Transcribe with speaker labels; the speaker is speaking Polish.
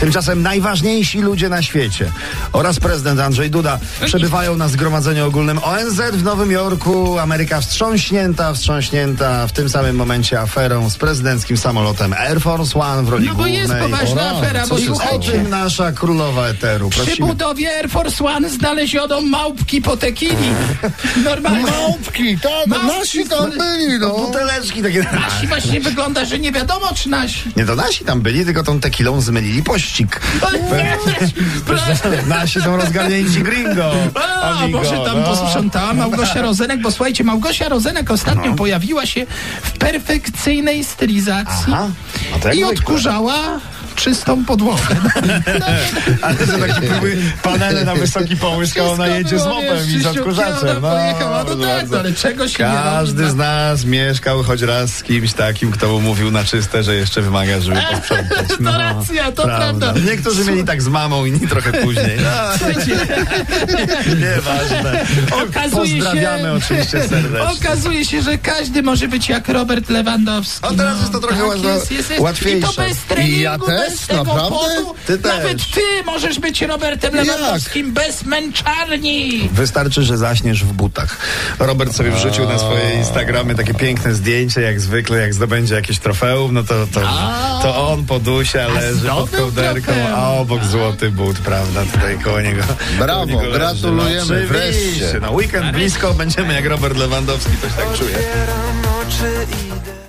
Speaker 1: Tymczasem najważniejsi ludzie na świecie oraz prezydent Andrzej Duda przebywają na zgromadzeniu ogólnym ONZ w Nowym Jorku. Ameryka wstrząśnięta, wstrząśnięta w tym samym momencie aferą z prezydenckim samolotem Air Force One w roli
Speaker 2: No bo
Speaker 1: głównej.
Speaker 2: jest poważna
Speaker 3: Ora,
Speaker 2: afera, bo
Speaker 3: co się
Speaker 1: I o
Speaker 2: słuchajcie.
Speaker 1: tym nasza królowa eteru.
Speaker 2: Przy
Speaker 1: Prosimy.
Speaker 2: budowie Air Force One znaleziono małpki po tekini. Normalnie.
Speaker 3: Małpki, tak, no
Speaker 2: Małpki
Speaker 3: nasi tam
Speaker 2: z-
Speaker 3: byli,
Speaker 1: No,
Speaker 3: no.
Speaker 1: buteleczki takie.
Speaker 2: Nasi właśnie wygląda, że nie wiadomo czy nasi.
Speaker 1: Nie to nasi tam byli, tylko tą tekilą zmylili pościg.
Speaker 2: O, nie, proszę.
Speaker 1: Nasi są rozgarnięci gringo.
Speaker 2: A,
Speaker 1: amigo,
Speaker 2: może tam
Speaker 1: no.
Speaker 2: posprzątała Małgosia Rozenek, bo słuchajcie, Małgosia Rozenek
Speaker 1: No.
Speaker 2: ostatnio pojawiła się w perfekcyjnej stylizacji
Speaker 1: Aha, no to jak
Speaker 2: i
Speaker 1: zwykle.
Speaker 2: odkurzała czystą podłogę. No,
Speaker 1: Ale to tak się próbuje panele na wysoki pomysł, a
Speaker 2: Wszystko
Speaker 1: ona jedzie z
Speaker 2: było,
Speaker 1: mopem
Speaker 2: wiesz,
Speaker 1: i z
Speaker 2: czyściutkie,
Speaker 1: odkurzaczem.
Speaker 2: ona pojechała. No tak, no ale czego się nie
Speaker 1: Każdy
Speaker 2: robi,
Speaker 1: z nas mieszkał choć raz z kimś takim, kto mu mówił na czyste, że jeszcze wymaga, żeby posprzątać.
Speaker 2: no. To racja, to prawda. Tak,
Speaker 1: Niektórzy mieli tak z mamą, inni trochę później. No, nieważne. O,
Speaker 2: Okazuje się-
Speaker 1: Pozdrawiamy oczywiście serdecznie.
Speaker 2: Okazuje się, że każdy może być jak Robert Lewandowski. no. Tak
Speaker 1: A teraz jest to trochę ładno- łatwiejsze.
Speaker 2: I to bez treningu,
Speaker 3: I ja też,
Speaker 2: bez tego
Speaker 3: naprawdę?
Speaker 2: potu.
Speaker 1: Ty też.
Speaker 2: Nawet ty możesz być Robertem
Speaker 3: Jak?
Speaker 2: Lewandowskim bez męczarni.
Speaker 1: Wystarczy, że zaśniesz w butach. Robert sobie wrzucił na swoje Instagramy takie piękne zdjęcie, jak zwykle, jak zdobędzie jakieś trofeum, no to, to, to on po dusie leży pod
Speaker 2: zdobył
Speaker 1: kołderką,
Speaker 2: trofeum.
Speaker 1: a obok złoty but, prawda, tutaj koło niego.
Speaker 3: Brawo,
Speaker 1: koło niego leży. No,
Speaker 3: gratulujemy,
Speaker 1: oczywiście,
Speaker 3: wreszcie.
Speaker 1: No weekend blisko, będziemy jak Robert Lewandowski, coś tak czuję.
Speaker 4: Otwieram oczy, idę.